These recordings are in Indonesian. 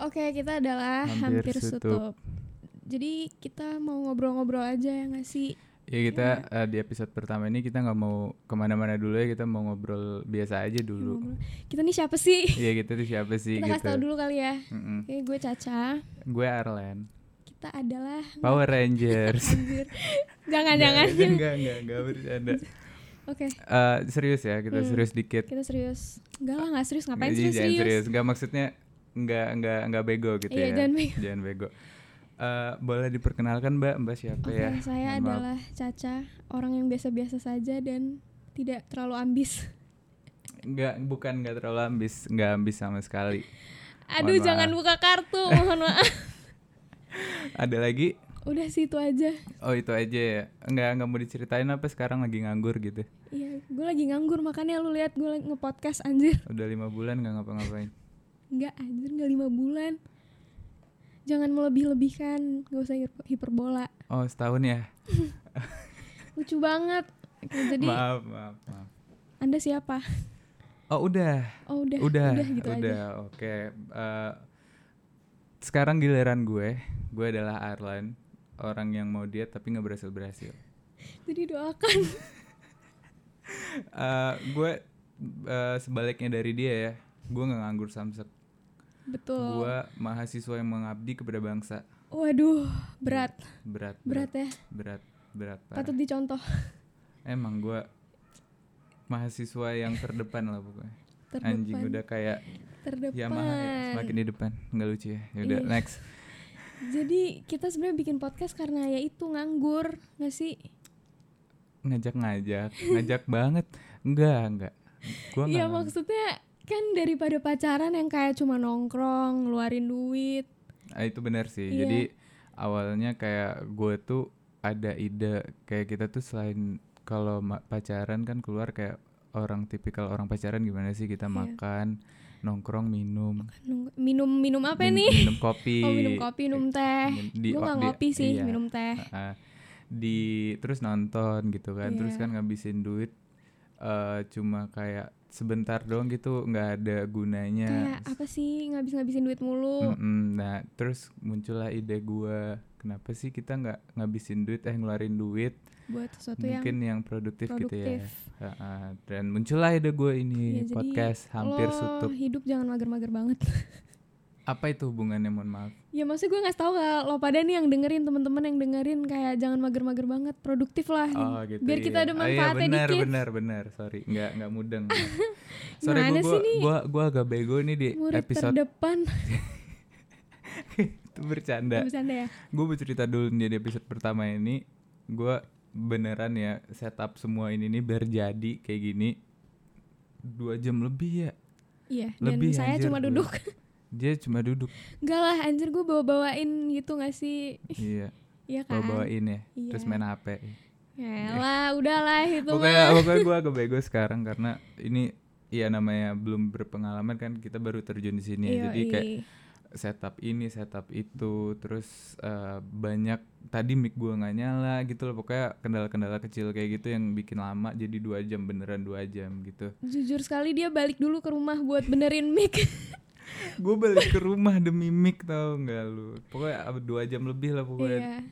Oke, kita adalah Hampir hampir, Sutup. sutup. Jadi kita mau ngobrol-ngobrol aja ya nggak sih? Ya kita Iya. eh, di episode pertama ini kita nggak mau kemana-mana dulu ya kita mau ngobrol biasa aja dulu. Ngobrol. Kita nih siapa sih? Iya kita tuh siapa sih Iya, kita kasih tau gitu. dulu kali ya. Mm-mm. Oke, gue Caca. Gue Arlen. Kita adalah Power Rangers. Anjir. jangan jangan. Nggak, Nggak nggak nggak bercanda. Oke, Eh, serius ya kita Hmm. serius dikit. kita serius. Enggak lah, nggak serius. Ngapain Nggak, serius? jangan serius? serius. Nggak maksudnya nggak nggak nggak bego gitu Iya, ya. jangan bego. Jangan bego. Eh, boleh diperkenalkan Mbak Mbak siapa Oke, ya? saya Mohon maaf. adalah Caca, orang yang biasa-biasa saja dan tidak terlalu ambis. nggak bukan nggak terlalu ambis nggak ambis sama sekali. Aduh, maaf. jangan buka kartu, mohon maaf. Ada lagi Udah sih itu aja. Oh itu aja ya Nggak, nggak mau diceritain apa sekarang lagi nganggur gitu Iya, gue lagi nganggur makanya lu lihat gue nge-podcast anjir. Udah lima bulan nggak ngapa-ngapain Enggak anjir, enggak lima bulan. Jangan melebih-lebihkan, gak usah hiper- hiperbola. Oh setahun ya Lucu banget. Oke, jadi Maaf maaf maaf Anda siapa? Oh udah Oh udah, Udah gitu aja. udah, oke Eh, Sekarang giliran gue Gue adalah Arlan Orang yang mau diet tapi nggak berhasil-berhasil Jadi doakan. Eh, Gue eh, sebaliknya dari dia ya Gue nggak nganggur samsek Betul. Gue mahasiswa yang mengabdi kepada bangsa Waduh, berat, Iya, Berat berat ya. Berat Berat, parah. Patut dicontoh. Emang gue mahasiswa yang terdepan lah pokoknya. Terdepan. Anjing udah kayak Terdepan. Yamaha ya, semakin di depan. Nggak lucu ya. Yaudah Iya. next. Jadi kita sebenarnya bikin podcast karena ya itu nganggur, nggak sih? Ngajak-ngajak, ngajak banget. Enggak, enggak. Gua enggak. Iya maksudnya kan daripada pacaran yang kayak cuma nongkrong, ngeluarin duit. Ah, itu benar sih. Iya. Jadi awalnya kayak gue tuh ada ide kayak kita tuh selain kalau ma- pacaran kan keluar kayak orang tipikal orang pacaran gimana sih Iya. kita makan, nongkrong, minum. Nong- Minum minum apa Min- nih? Minum kopi. Oh minum kopi, minum teh. Minum- Iya, di- Gue nggak di- ngopi sih, iya. minum teh. Heeh. di terus nonton gitu kan terus Iya. kan ngabisin duit eh cuma kayak sebentar doang gitu nggak ada Kayak gunanya apa sih ngabis-ngabisin duit mulu? Mm-mm. nah terus muncullah ide gua kenapa sih kita nggak ngabisin duit eh ngeluarin duit buat sesuatu mungkin yang, produktif, yang produktif. gitu ya Heeh. dan muncullah ide gue ini Iya, jadi podcast hampir Lo sutup hidup jangan mager-mager banget. apa itu hubungannya mohon maaf ya maksud gue nggak tahu kalau lo pada nih yang dengerin teman-teman yang dengerin kayak jangan mager-mager banget, produktif lah. oh gitu Biar kita iya. ada Oh, iya, manfaatnya benar dikit. benar benar sorry nggak nggak mudeng sorry Gimana gue sih nih? gua gua agak bego nih di Murid episode terdepan. itu bercanda Bercanda ya. gue bercerita dulu nih di episode pertama ini gue beneran ya setup semua ini nih biar jadi kayak gini dua jam lebih ya Iya, dan Lebih, saya anjir, cuma gue. duduk. dia cuma duduk Enggak lah, anjir gue bawa-bawain gitu gak sih? iya Iya gue kan? bawain ya Iya. terus main hp Yalah, udahlah itu mah. pokoknya oh, pokoknya gue agak bego sekarang karena ini ya namanya belum berpengalaman kan kita baru terjun di sini ya. jadi Yoi. kayak setup ini setup itu terus eh, banyak tadi mic gua nggak nyala gitu loh pokoknya kendala-kendala kecil kayak gitu yang bikin lama jadi dua jam beneran dua jam gitu jujur sekali dia balik dulu ke rumah buat benerin mic. gue balik ke rumah demi mic tau nggak lu pokoknya ab- dua jam lebih lah pokoknya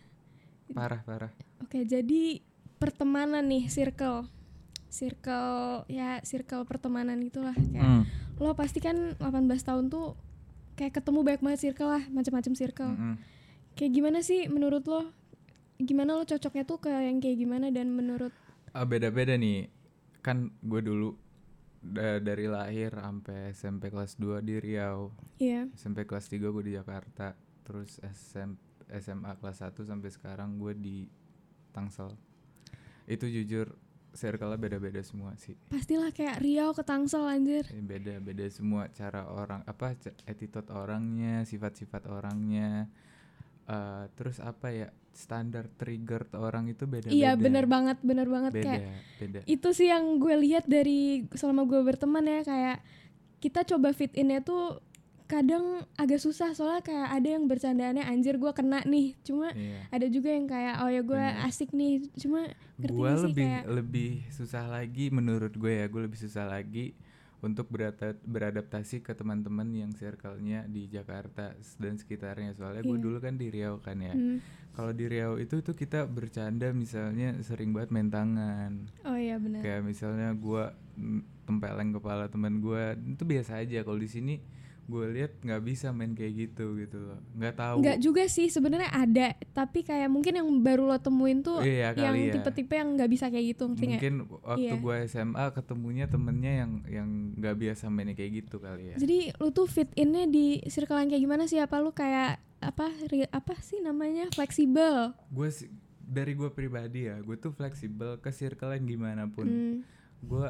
Iya. parah parah Oke, jadi pertemanan nih, circle. Circle ya, circle pertemanan itulah kayak. Mm, Lo pasti kan 18 tahun tuh kayak ketemu banyak banget circle lah, macam-macam circle. mm-mm. Kayak gimana sih menurut lo? Gimana lo cocoknya tuh ke yang kayak gimana dan menurut Ah, beda-beda nih kan gue dulu da- dari lahir sampai SMP kelas 2 di Riau ya SMP kelas 3 gue di Jakarta terus SM SMA kelas 1 sampai sekarang gue di Tangsel itu jujur circle-nya beda-beda semua sih pastilah kayak Riau ke Tangsel anjir Eh, beda-beda semua cara orang apa ca- attitude orangnya sifat-sifat orangnya Eh, terus apa ya standar trigger orang itu beda-beda iya bener banget bener banget Ya beda kayak Iya, beda itu sih yang gue lihat dari selama gue berteman ya kayak kita coba fit innya tuh kadang agak susah soalnya kayak ada yang bercandaannya anjir gue kena nih cuma iya ada juga yang kayak oh ya gue Bener. asik nih cuma ngerti gak sih gue Hmm. lebih kayak lebih susah lagi menurut gue ya gue lebih susah lagi untuk berata- beradaptasi ke teman-teman yang circle-nya di Jakarta dan sekitarnya soalnya gue Iya. dulu kan di Riau kan ya Hmm. kalau di Riau itu tuh kita bercanda misalnya sering banget main tangan Oh iya benar. kayak misalnya gua mm, tempeleng kepala teman gua itu biasa aja kalau di sini gue lihat nggak bisa main kayak gitu gitu loh nggak tahu Enggak juga sih sebenarnya ada, tapi kayak mungkin yang baru lo temuin tuh Iya, kali yang ya. tipe-tipe yang nggak bisa kayak gitu ngerti nggak? mungkin ya. waktu Iya. gua SMA ketemunya temennya yang yang nggak biasa mainnya kayak gitu kali ya Jadi lu tuh fit innya di circle yang kayak gimana sih? Apa lu kayak apa ri- apa sih namanya fleksibel? gue dari gue pribadi ya gue tuh fleksibel ke circle yang gimana pun Hmm, gue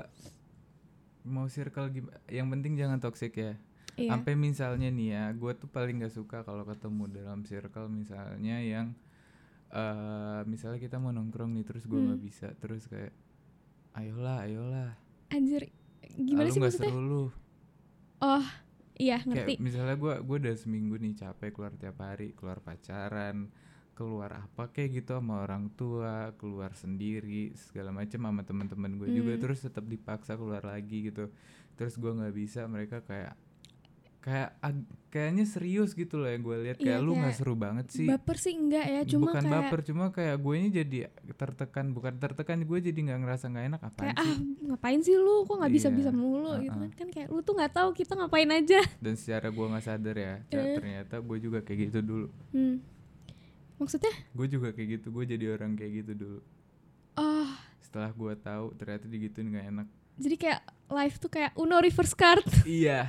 mau circle gim- yang penting jangan toxic ya iya. sampai misalnya nih ya gue tuh paling gak suka kalau ketemu dalam circle misalnya yang eh misalnya kita mau nongkrong nih terus Hmm. gue nggak bisa terus kayak ayolah ayolah Anjir, ah, gimana lu sih nggak maksudnya? seru lu Oh, iya kayak ngerti. misalnya gue gue udah seminggu nih capek keluar tiap hari keluar pacaran keluar apa kayak gitu sama orang tua keluar sendiri segala macem sama teman-teman gue juga Hmm. terus tetap dipaksa keluar lagi gitu terus gue nggak bisa mereka kayak kayak ag- kayaknya serius gitu loh yang gue lihat Iya, kayak lu nggak kayak seru banget sih Baper sih enggak ya, cuma bukan kayak baper cuma kayak gue ini jadi tertekan bukan tertekan gue jadi nggak ngerasa nggak enak apa kayak ah ngapain sih lu kok nggak bisa bisa Iya, mulu gitu uh-uh. kan kan kayak lu tuh nggak tahu kita ngapain aja dan secara gue nggak sadar ya ca- Eh. ternyata gue juga kayak gitu dulu hmm. maksudnya gue juga kayak gitu gue jadi orang kayak gitu dulu oh setelah gue tahu ternyata digituin nggak enak jadi kayak life tuh kayak Uno reverse card iya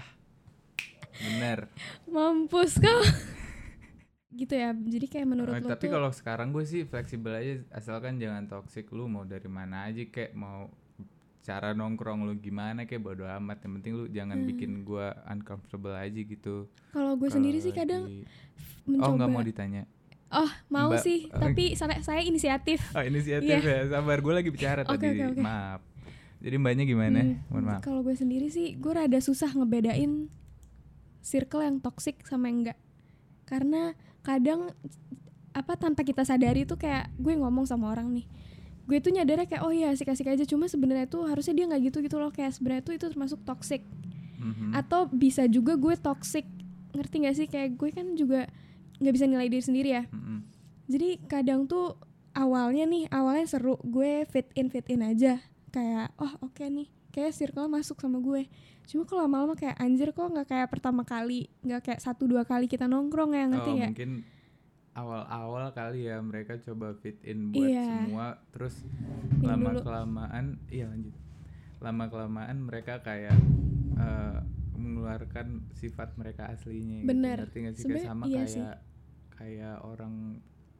bener mampus kau gitu ya jadi kayak menurut Eh, lu tapi tuh kalau sekarang gue sih fleksibel aja asalkan jangan toxic lu mau dari mana aja kayak mau cara nongkrong lu gimana kayak bodo amat yang penting lu jangan Hmm. bikin gue uncomfortable aja gitu kalau gue Kalau sendiri sih lagi- kadang oh mencoba nggak mau ditanya oh mau Mbak- sih tapi saya, saya inisiatif oh inisiatif ya sabar gue lagi Iya. bicara Oke, tadi oke, oke. maaf jadi mbaknya gimana Hmm, ya, mohon maaf kalau gue sendiri sih gue rada susah ngebedain circle yang toxic sama yang enggak karena kadang apa tanpa kita sadari tuh kayak gue ngomong sama orang nih gue tuh nyadarnya kayak oh iya asik-asik aja cuma sebenarnya tuh harusnya dia nggak gitu gitu loh kayak sebenarnya tuh itu termasuk toxic Mhm. atau bisa juga gue toxic ngerti nggak sih kayak gue kan juga nggak bisa nilai diri sendiri ya Mhm. jadi kadang tuh awalnya nih awalnya seru gue fit in fit in aja kayak oh oke nih kayak circle masuk sama gue cuma kalau lama-lama kayak anjir kok nggak kayak pertama kali nggak kayak satu dua kali kita nongkrong ya ngerti Oh, nggak mungkin awal-awal kali ya mereka coba fit in buat Iya. semua terus Minum lama dulu. kelamaan iya lanjut lama kelamaan mereka kayak eh, mengeluarkan sifat mereka aslinya gitu. Bener. ngerti nggak sih kayak Sebenarnya sama iya kayak sih. kayak orang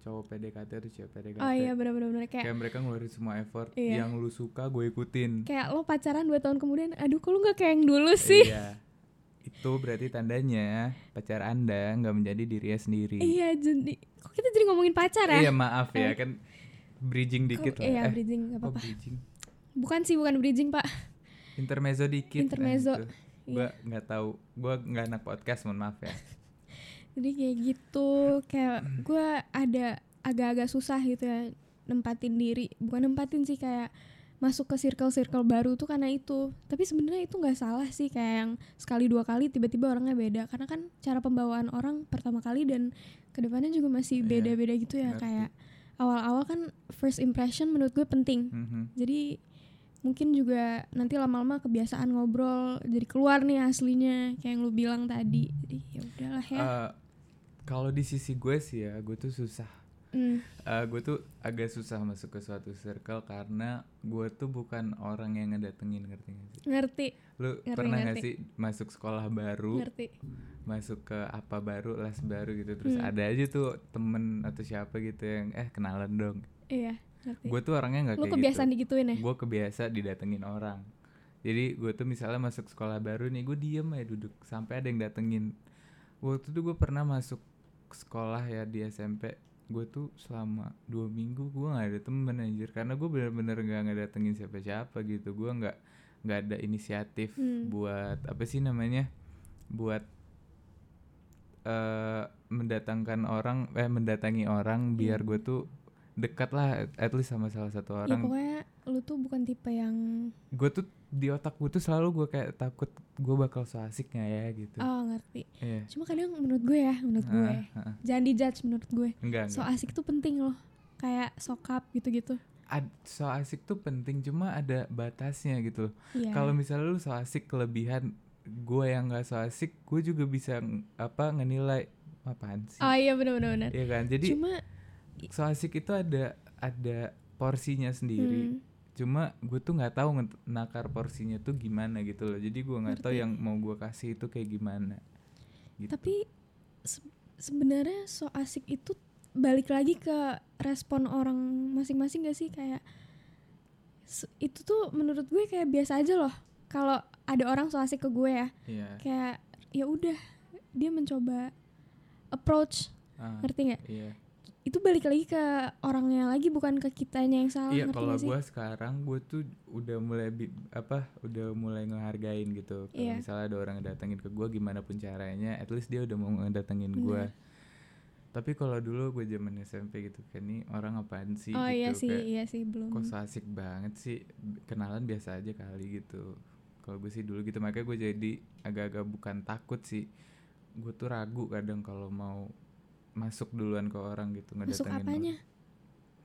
cowok PDKT atau cewek PDKT oh iya benar-benar kayak kayak mereka ngeluarin semua effort Iya. yang lu suka gue ikutin kayak lo pacaran dua tahun kemudian aduh kok lu nggak kayak yang dulu sih iya itu berarti tandanya pacar anda nggak menjadi dirinya sendiri iya jadi kok kita jadi ngomongin pacar Iya ya maaf ya Eh. kan bridging dikit Kok- lah. iya Eh, bridging nggak kok apa-apa bridging? bukan sih bukan bridging pak Intermezzo dikit. Intermezzo, iya. Gue nggak tahu. Gue nggak anak podcast, mohon maaf ya. jadi kayak gitu kayak Hmm. gue ada agak-agak susah gitu ya nempatin diri bukan nempatin sih kayak masuk ke circle-circle baru tuh karena itu tapi sebenarnya itu nggak salah sih kayak yang sekali dua kali tiba-tiba orangnya beda karena kan cara pembawaan orang pertama kali dan kedepannya juga masih Iya, beda-beda gitu ya ngerti. kayak awal-awal kan first impression menurut gue penting Mhm. jadi mungkin juga nanti lama-lama kebiasaan ngobrol jadi keluar nih aslinya kayak yang lu bilang tadi Jadi ya udahlah ya Eh, Kalau di sisi gue sih ya, gue tuh susah. Eh, Hmm. gue tuh agak susah masuk ke suatu circle karena gue tuh bukan orang yang ngedatengin ngerti gak sih? ngerti Lu Ngerti, pernah nggak ngerti. sih masuk sekolah baru, ngerti masuk ke apa baru, les baru gitu terus Hmm. ada aja tuh temen atau siapa gitu yang eh kenalan dong. iya ngerti Gue tuh orangnya nggak lu kayak gitu. kebiasaan digituin ya gue kebiasa didatengin orang jadi gue tuh misalnya masuk sekolah baru nih gue diem aja duduk sampai ada yang datengin waktu itu gue pernah masuk sekolah ya di SMP gue tuh selama dua minggu gue nggak ada temen anjir karena gue bener-bener nggak ngedatengin siapa-siapa gitu gue nggak nggak ada inisiatif Hmm. buat apa sih namanya buat eh mendatangkan orang Iya. eh mendatangi orang biar gue tuh dekat lah at least sama salah satu ya orang pokoknya lu tuh bukan tipe yang gue tuh di otak gue tuh selalu gue kayak takut gue bakal so asik nggak ya gitu oh ngerti Iya. cuma kadang menurut gue ya menurut gue Heeh, heeh. jangan dijudge menurut gue enggak so enggak asik tuh penting loh kayak sokap gitu-gitu Ad- so asik tuh penting cuma ada batasnya gitu loh iya kalau misalnya lu so asik kelebihan gue yang nggak so asik gue juga bisa ng- apa ngenilai apaan sih oh iya benar-benar Iya kan jadi cuma so asik itu ada ada porsinya sendiri hmm, cuma gue tuh nggak tahu nge- nakar porsinya tuh gimana gitu loh jadi gue nggak tahu Ngerti. yang mau gue kasih itu kayak gimana gitu. tapi se- sebenarnya so asik itu balik lagi ke respon orang masing-masing gak sih kayak se- itu tuh menurut gue kayak biasa aja loh kalau ada orang so asik ke gue ya Iya. kayak ya udah dia mencoba approach Ah, ngerti nggak iya itu balik lagi ke orangnya lagi bukan ke kitanya yang salah Oh, iya ngerti kalau nggak sih gue sekarang gue tuh udah mulai bi- apa udah mulai ngehargain gitu kalau Iya. misalnya ada orang datengin ke gue gimana pun caranya at least dia udah mau ngedatengin Bener. gue tapi kalau dulu gue zaman SMP gitu kan nih orang apaan sih oh gitu iya sih kayak, iya sih belum kok ya? so asik banget sih B- kenalan biasa aja kali gitu kalau gue sih dulu gitu makanya gue jadi agak-agak bukan takut sih gue tuh ragu kadang kalau mau masuk duluan ke orang gitu masuk ngedatengin apanya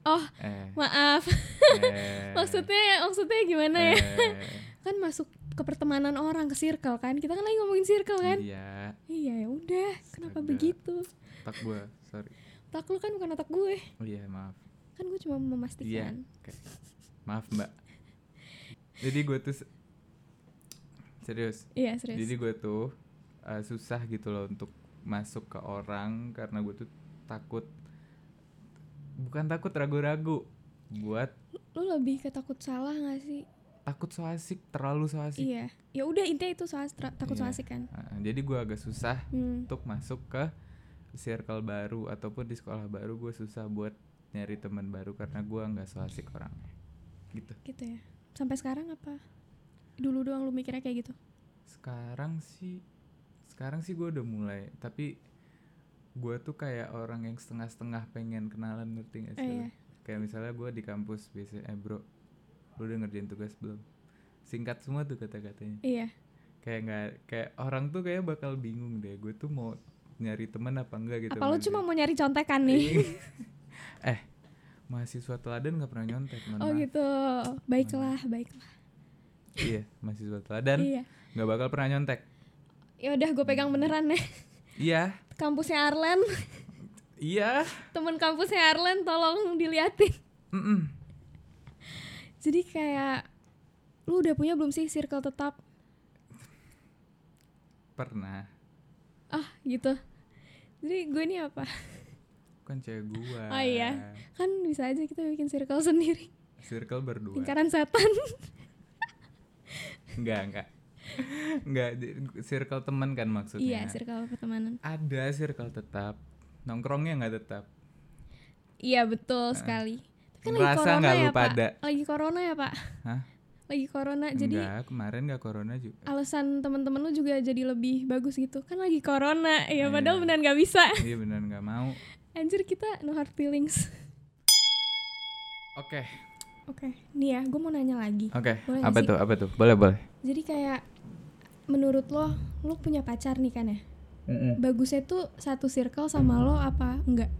orang. oh eh, maaf eh, maksudnya maksudnya gimana ya eh, kan masuk ke pertemanan orang ke circle kan kita kan lagi ngomongin circle kan iya iya ya udah kenapa Astaga. begitu tak gue sorry otak lu kan bukan otak gue oh iya maaf kan gue cuma iya memastikan oke. maaf mbak jadi gue tuh se- serius iya serius Jadi gue tuh uh, susah gitu loh untuk masuk ke orang karena gue tuh takut bukan takut ragu-ragu buat lu lebih ketakut salah gak sih takut so asik terlalu so asik. iya ya udah intinya itu soal stra- takut Iya. soal asik kan Uh, jadi gue agak susah hmm. untuk masuk ke circle baru ataupun di sekolah baru gue susah buat nyari teman baru karena gue nggak so asik orangnya gitu. gitu ya sampai sekarang apa dulu doang lu mikirnya kayak gitu sekarang sih sekarang sih gue udah mulai tapi gue tuh kayak orang yang setengah-setengah pengen kenalan ngerti gak sih Eh, lo? iya. kayak misalnya gue di kampus biasanya eh bro lu udah ngerjain tugas belum singkat semua tuh kata-katanya iya kayak nggak kayak orang tuh kayak bakal bingung deh gue tuh mau nyari teman apa enggak gitu Iya, apa lu sama cuma dia. mau nyari contekan nih eh mahasiswa teladan nggak pernah nyontek Iya. mohon oh maaf. gitu baiklah baiklah iya mahasiswa teladan iya nggak bakal pernah nyontek ya udah gue pegang beneran ya iya kampusnya Arlen iya temen kampusnya Arlen tolong diliatin mm jadi kayak lu udah punya belum sih circle tetap pernah ah gitu jadi gue ini apa kan cewek gua Oh, iya. kan bisa aja kita bikin circle sendiri circle berdua lingkaran setan enggak enggak enggak di- circle teman kan iya maksudnya circle pertemanan ada circle tetap nongkrongnya nggak tetap iya betul sekali Tapi kan lagi Merasa corona Nah. nggak ya lu pak pada? lagi corona ya pak Hah? lagi corona jadi enggak kemarin nggak corona juga alasan temen-temen lu juga jadi lebih bagus gitu kan lagi corona ya Iya. padahal beneran nggak bisa iya benar nggak mau anjir kita no hard feelings oke oke nih ya gue mau nanya lagi oke Boleh nggak apa sih? tuh apa tuh boleh boleh jadi kayak menurut lo lo punya pacar nih kan ya bagusnya tuh satu circle sama lo apa enggak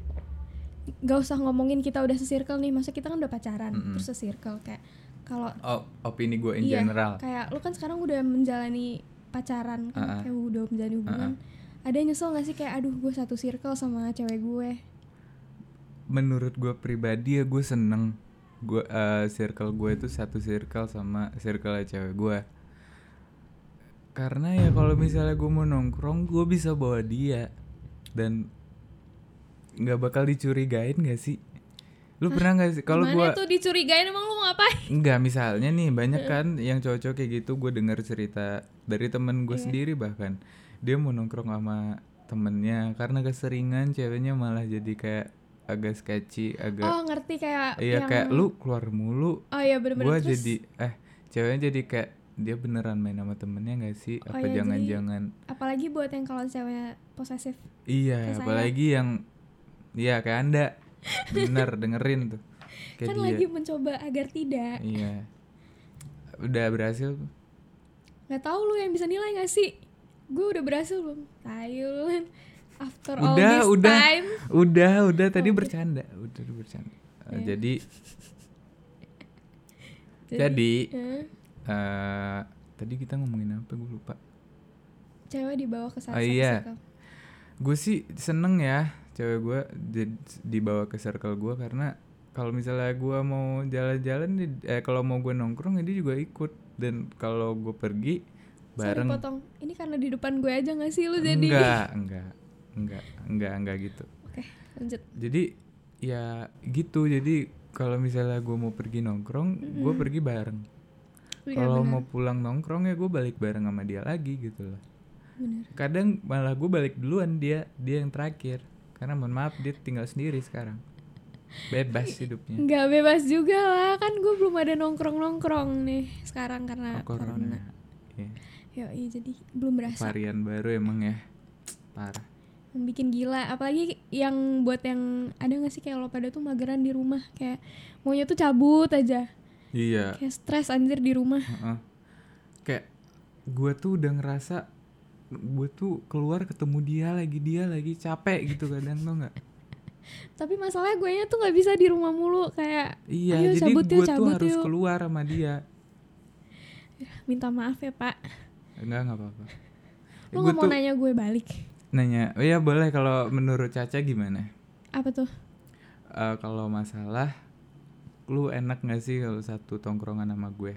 nggak usah ngomongin kita udah se-circle nih masa kita kan udah pacaran Mm-mm. terus se-circle kayak kalau Oh, opini gue in Iya, general kayak lo kan sekarang udah menjalani pacaran kan Uh-uh. kayak udah menjalani hubungan ada yang nyesel gak sih kayak aduh gue satu circle sama cewek gue menurut gue pribadi ya gue seneng gue eh, circle gue itu satu circle sama circle cewek gue karena ya kalau misalnya gue mau nongkrong gue bisa bawa dia dan nggak bakal dicurigain gak sih lu pernah gak sih kalau Gimana gue tuh dicurigain emang lo mau ngapain nggak misalnya nih banyak kan yang cocok kayak gitu gue dengar cerita dari temen gue sendiri bahkan dia mau nongkrong sama temennya karena keseringan ceweknya malah jadi kayak agak sketchy agak oh ngerti kayak yang Iya kayak lu keluar mulu oh iya Gue bener-bener terus jadi eh ceweknya jadi kayak dia beneran main sama temennya gak sih? Oh Apa iya, jangan-jangan apalagi buat yang kalau ceweknya posesif Iya kayak saya. apalagi yang Iya kayak anda Bener dengerin tuh Kayak kan dia. lagi mencoba agar tidak Iya. Udah berhasil nggak tahu lu yang bisa nilai nggak sih gue udah berhasil belum tahu lu kan after all Udah, this udah. time Udah, udah tadi Oke. bercanda, udah udah bercanda. Eh, Oh, Iya. Jadi Jadi, jadi eh, eh, tadi kita ngomongin apa gue lupa. cewek dibawa ke sana Oh, iya. Gue sih seneng ya cewek gue dibawa ke circle gue karena kalau misalnya gue mau jalan-jalan di- eh kalau mau gue nongkrong ya dia juga ikut dan kalau gue pergi Sorry bareng potong. Ini karena di depan gue aja gak sih lu jadi? enggak enggak enggak enggak enggak gitu Oke, lanjut. jadi ya gitu jadi kalau misalnya gue mau pergi nongkrong gue Mm-mm. pergi bareng Iya, kalau benar, mau pulang nongkrong ya gue balik bareng sama dia lagi gitu loh benar. kadang malah gue balik duluan dia dia yang terakhir karena mohon maaf dia tinggal sendiri sekarang bebas hidupnya Iya. Enggak bebas juga lah, kan gue belum ada nongkrong-nongkrong nih sekarang karena Oh, corona. corona Iya, Ya, iya jadi belum berasa. varian baru emang ya parah Yang bikin gila, apalagi yang buat yang ada gak sih kayak lo pada tuh mageran di rumah kayak maunya tuh cabut aja. iya Kayak stres anjir di rumah. heeh. kayak gue tuh udah ngerasa gue tuh keluar ketemu dia lagi dia lagi capek gitu kadang tuh nggak Tapi masalahnya gue tuh nggak bisa di rumah mulu kayak Iya, Ayo, jadi cabut yuk, gue tuh cabut harus yuk. keluar sama dia. minta maaf ya, Pak. Enggak, enggak apa-apa. Lo gue nggak mau tuh nanya gue balik. nanya, oh ya boleh kalau menurut Caca gimana? Apa tuh? Eh, kalau masalah, lu enak gak sih kalau satu tongkrongan sama gue?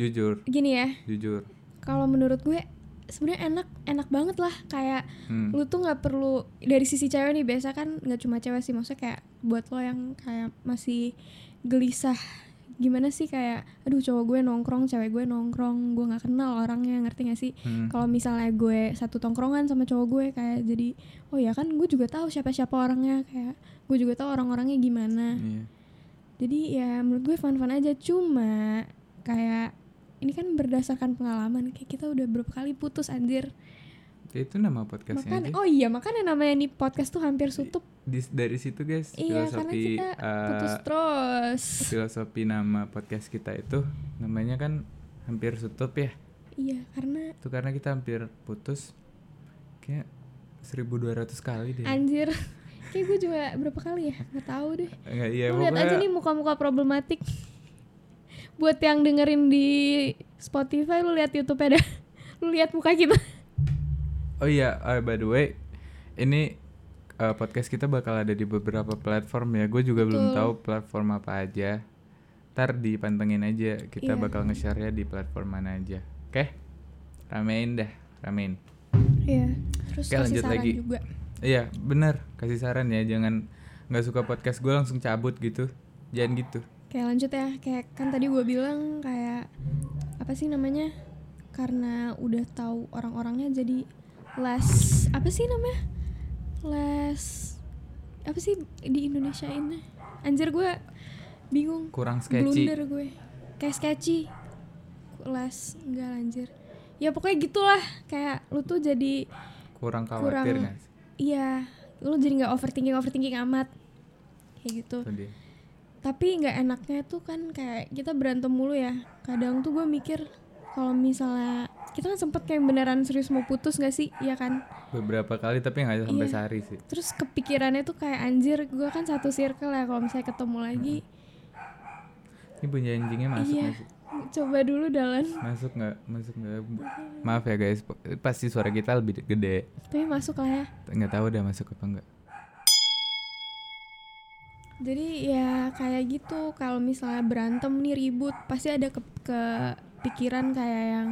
Jujur, Gini ya, jujur. kalau menurut gue sebenarnya enak enak banget lah kayak Hmm. lu tuh nggak perlu dari sisi cewek nih biasa kan nggak cuma cewek sih maksudnya kayak buat lo yang kayak masih gelisah gimana sih kayak aduh cowok gue nongkrong cewek gue nongkrong gue nggak kenal orangnya ngerti gak sih Hmm. kalau misalnya gue satu tongkrongan sama cowok gue kayak jadi oh ya kan gue juga tahu siapa siapa orangnya kayak gue juga tahu orang-orangnya gimana Iya. jadi ya menurut gue fun-fun aja cuma kayak ini kan berdasarkan pengalaman kayak kita udah berapa kali putus anjir Itu nama podcastnya makan aja. oh iya makanya namanya nih podcast tuh hampir tutup Di- dari situ guys, iya karena filosofi kita eh, putus terus filosofi nama podcast kita itu namanya kan hampir tutup ya. iya karena Itu karena kita hampir putus kayak 1200 kali deh. anjir kayak gue juga berapa kali ya nggak tahu deh Enggak, iya Lu lihat pokoknya aja nih muka-muka problematik buat yang dengerin di Spotify lu lihat YouTube ada lu lihat muka kita Oh iya, eh, by the way, ini eh, podcast kita bakal ada di beberapa platform ya. Gue juga belum Betul. tahu platform apa aja. Ntar dipantengin aja. Kita Iya. bakal nge-share di platform mana aja. Oke? Ramein dah, ramein. iya terus Oke, kasih lanjut saran lagi. juga Iya, bener. Kasih saran ya, jangan nggak suka podcast gue langsung cabut gitu. Jangan gitu. Kayak lanjut ya, kayak kan tadi gue bilang kayak apa sih namanya? Karena udah tahu orang-orangnya jadi less apa sih namanya? Less apa sih di Indonesia ini? Anjir gue bingung. Kurang sketchy. Blunder gue. Kayak sketchy. Less enggak anjir. Ya pokoknya gitulah kayak lu tuh jadi Kurang khawatir Kurang- nggak sih? iya, lu jadi nggak overthinking overthinking amat. Kayak gitu Itu dia. tapi nggak enaknya tuh kan kayak kita berantem mulu ya kadang tuh gue mikir kalau misalnya kita kan sempet kayak beneran serius mau putus gak sih Iya kan Beberapa kali tapi nggak sampai Iya. sehari sih. terus kepikirannya tuh kayak anjir gue kan satu circle ya kalau misalnya ketemu lagi Ini bunyi anjingnya masuk iya nggak sih? coba dulu dalan Masuk nggak? Masuk nggak? Bu- Maaf ya guys, po- pasti suara kita lebih de- gede. tapi masuk lah ya Nggak tahu udah masuk apa nggak. jadi ya kayak gitu kalau misalnya berantem nih ribut pasti ada ke kepikiran kayak yang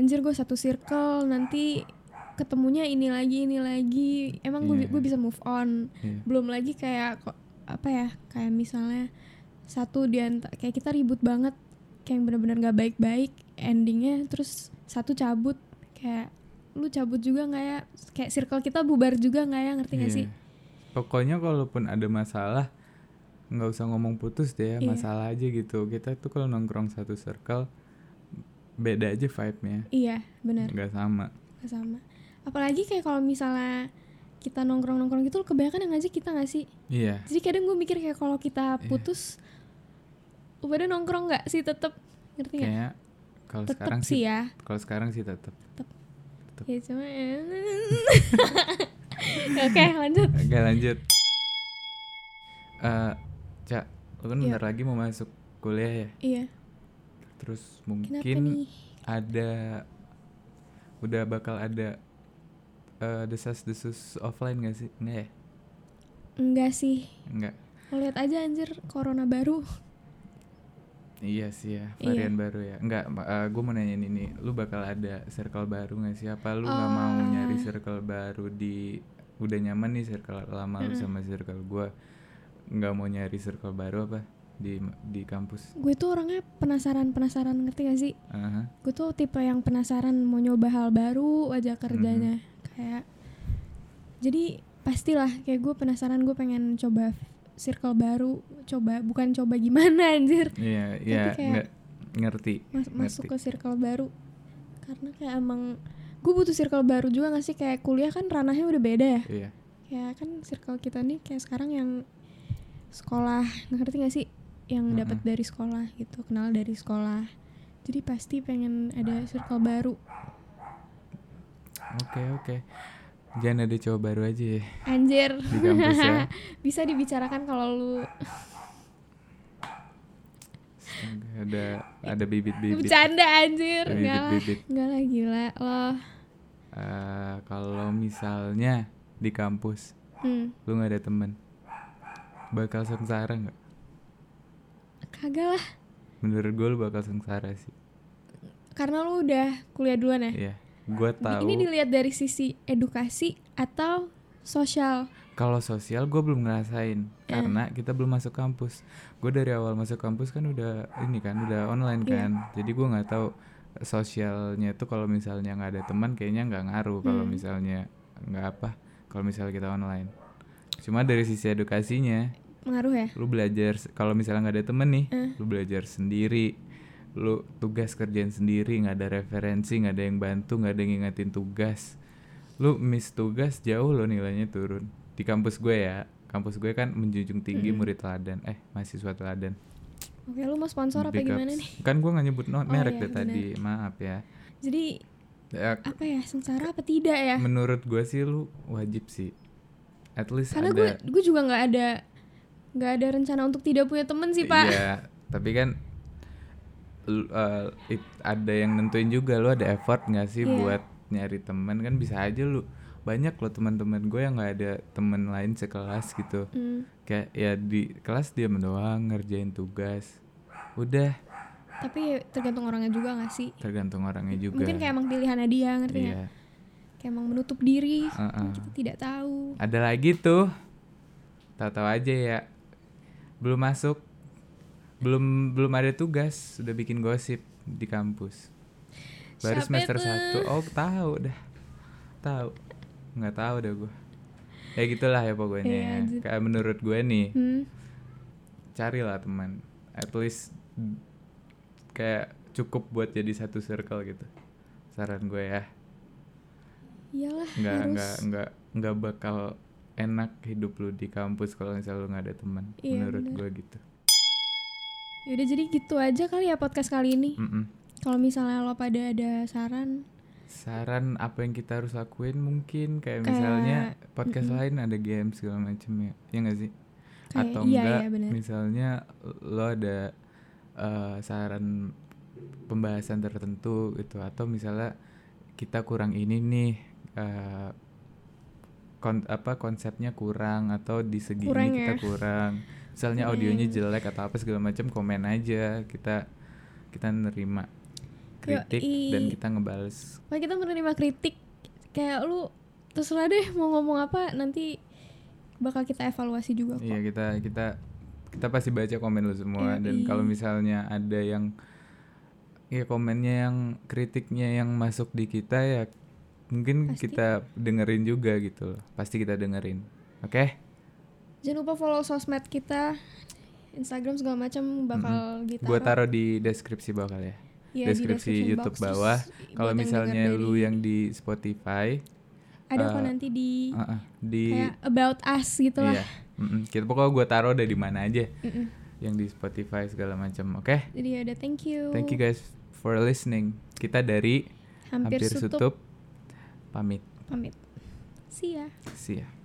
anjir gue satu circle nanti ketemunya ini lagi ini lagi emang gue Iya. gue bisa move on Iya. belum lagi kayak ko- apa ya kayak misalnya satu di anta- kayak kita ribut banget kayak yang bener-bener gak baik-baik endingnya terus satu cabut kayak lu cabut juga nggak ya kayak circle kita bubar juga nggak ya ngerti gak Iya. sih Pokoknya kalaupun ada masalah, nggak usah ngomong putus deh, ya, Iya. masalah aja gitu. Kita tuh kalau nongkrong satu circle, beda aja vibe-nya, iya bener nggak sama. nggak sama apalagi kayak kalau misalnya kita nongkrong-nongkrong gitu kebanyakan yang ngajak kita gak sih? Iya. Jadi kadang gue mikir kayak kalau kita putus lu pada nongkrong nggak sih tetep ngerti nggak? Kayaknya kalau Iya. Tetep sekarang sih sih, ya. kalau sekarang sih tetap. Ya cuma Oke, lanjut. Oke lanjut. Eh, Cak, lu kan Iya. bentar lagi mau masuk kuliah ya. Iya. Terus Kenapa mungkin nih? ada udah bakal ada eh, desas-desus offline gak sih? Enggak ya? Enggak sih. Enggak. Lo lihat aja anjir corona baru. Iya sih ya, Iya. varian baru ya. Enggak, gue mau nanyain ini. Lu bakal ada circle baru gak sih? Apa lu nggak Ah. mau nyari circle baru di udah nyaman nih circle lama lu sama circle gua nggak mau nyari circle baru apa di di kampus? Gue tuh orangnya penasaran-penasaran ngerti gak sih? Aha. Gue tuh tipe yang penasaran mau nyoba hal baru aja kerjanya kayak jadi pastilah kayak gue penasaran gue pengen coba circle baru coba bukan coba gimana anjir Iya, iya, kayak- nggak ngerti. Mas- masuk ngerti. ke circle baru karena kayak emang gue butuh circle baru juga gak sih kayak kuliah kan ranahnya udah beda ya Iya, kayak kan circle kita nih kayak sekarang yang sekolah ngerti gak sih yang Mm-mm. dapat dari sekolah gitu kenal dari sekolah jadi pasti pengen ada circle baru oke oke. Jangan ada cowok baru aja ya anjir di kampus ya. bisa dibicarakan kalau lu Astaga, ada ada bibit-bibit. bercanda anjir Ada enggak lah bibit-bibit. enggak lah gila loh Eh, kalau misalnya di kampus hmm. lu nggak ada temen bakal sengsara nggak kagak lah menurut gue lu bakal sengsara sih karena lu udah kuliah duluan ya Iya gue Di- tahu ini dilihat dari sisi edukasi atau sosial kalau sosial gue belum ngerasain Iya. karena kita belum masuk kampus gue dari awal masuk kampus kan udah ini kan udah online Iya. kan jadi gue nggak tahu eh, sosialnya tuh kalau misalnya nggak ada teman kayaknya nggak ngaruh kalau Hmm. misalnya nggak apa kalau misalnya kita online cuma dari sisi edukasinya pengaruh ya lu belajar se- kalau misalnya nggak ada temen nih Eh. lu belajar sendiri lu tugas kerjaan sendiri nggak ada referensi nggak ada yang bantu nggak ada yang ngingetin tugas lu miss tugas jauh lo nilainya turun di kampus gue ya kampus gue kan menjunjung tinggi Mm-mm. murid teladan eh mahasiswa teladan oke lu mau sponsor apa Big gimana ups. nih kan gue nggak nyebut no- Oh, merek iya, deh tadi maaf ya jadi Ya, apa ya sengsara apa tidak ya menurut gue sih lu wajib sih at least karena ada gue gue juga nggak ada nggak ada rencana untuk tidak punya temen sih pak Iya, tapi kan lu- eh, it- ada yang nentuin juga lu ada effort nggak sih Iya. buat nyari teman kan bisa aja lu banyak loh teman-teman gue yang nggak ada teman lain sekelas gitu Hmm. kayak ya di kelas dia doang ngerjain tugas udah tapi ya tergantung orangnya juga nggak sih tergantung orangnya juga mungkin kayak emang pilihannya dia ngerti ya. nggak iya kayak emang menutup diri Heeh. kita tidak tahu ada lagi tuh tahu-tahu aja ya belum masuk belum belum ada tugas udah bikin gosip di kampus baru Siapa semester itu? satu oh tahu dah tahu nggak tahu dah gue ya gitulah ya pokoknya Iya, lanjut. kayak menurut gue nih hmm. carilah teman at least mm, kayak cukup buat jadi satu circle gitu saran gue ya iyalah nggak harus nggak nggak nggak bakal enak hidup lu di kampus kalau misalnya lu nggak ada teman Iya, menurut bener. gue gitu Yaudah jadi gitu aja kali ya podcast kali ini Mm-mm. kalau misalnya lo pada ada saran saran apa yang kita harus lakuin mungkin Kayak- kayak, misalnya podcast mm-mm. lain ada game segala macem ya ya nggak sih Kayak- atau iya, enggak iya, bener. misalnya lo ada eh, saran pembahasan tertentu gitu atau misalnya kita kurang ini nih eh, kon- apa konsepnya kurang atau di segi Kurang ini kita ya. Iya, kurang misalnya Kurang. audionya jelek atau apa segala macam komen aja kita kita nerima kritik dan Yoi. kita ngebales Pokoknya kita menerima kritik kayak lu terserah deh mau ngomong apa nanti bakal kita evaluasi juga gitu kok. Iya, Iya kita kita kita pasti baca komen lu semua dan Yoi. kalau misalnya ada yang ya komennya yang kritiknya yang masuk di kita ya mungkin Pasti. kita dengerin juga gitu loh. Pasti kita dengerin. Oke? Jangan lupa follow sosmed kita Instagram segala macam bakal Iya, gitu. Hmm. Gua taruh di deskripsi bawah kali ya. deskripsi YouTube bawah. Kalau misalnya lu yang di Spotify ada kok Eh, nanti di Heeh, di kayak about us gitu lah iya. Mm-mm. Kita pokoknya gue taruh dari mana aja Mm-mm. yang di Spotify segala macam. Oke, jadi ada thank you thank you guys for listening. Kita dari hampir, hampir, sutup, sutup pamit. pamit see ya See ya.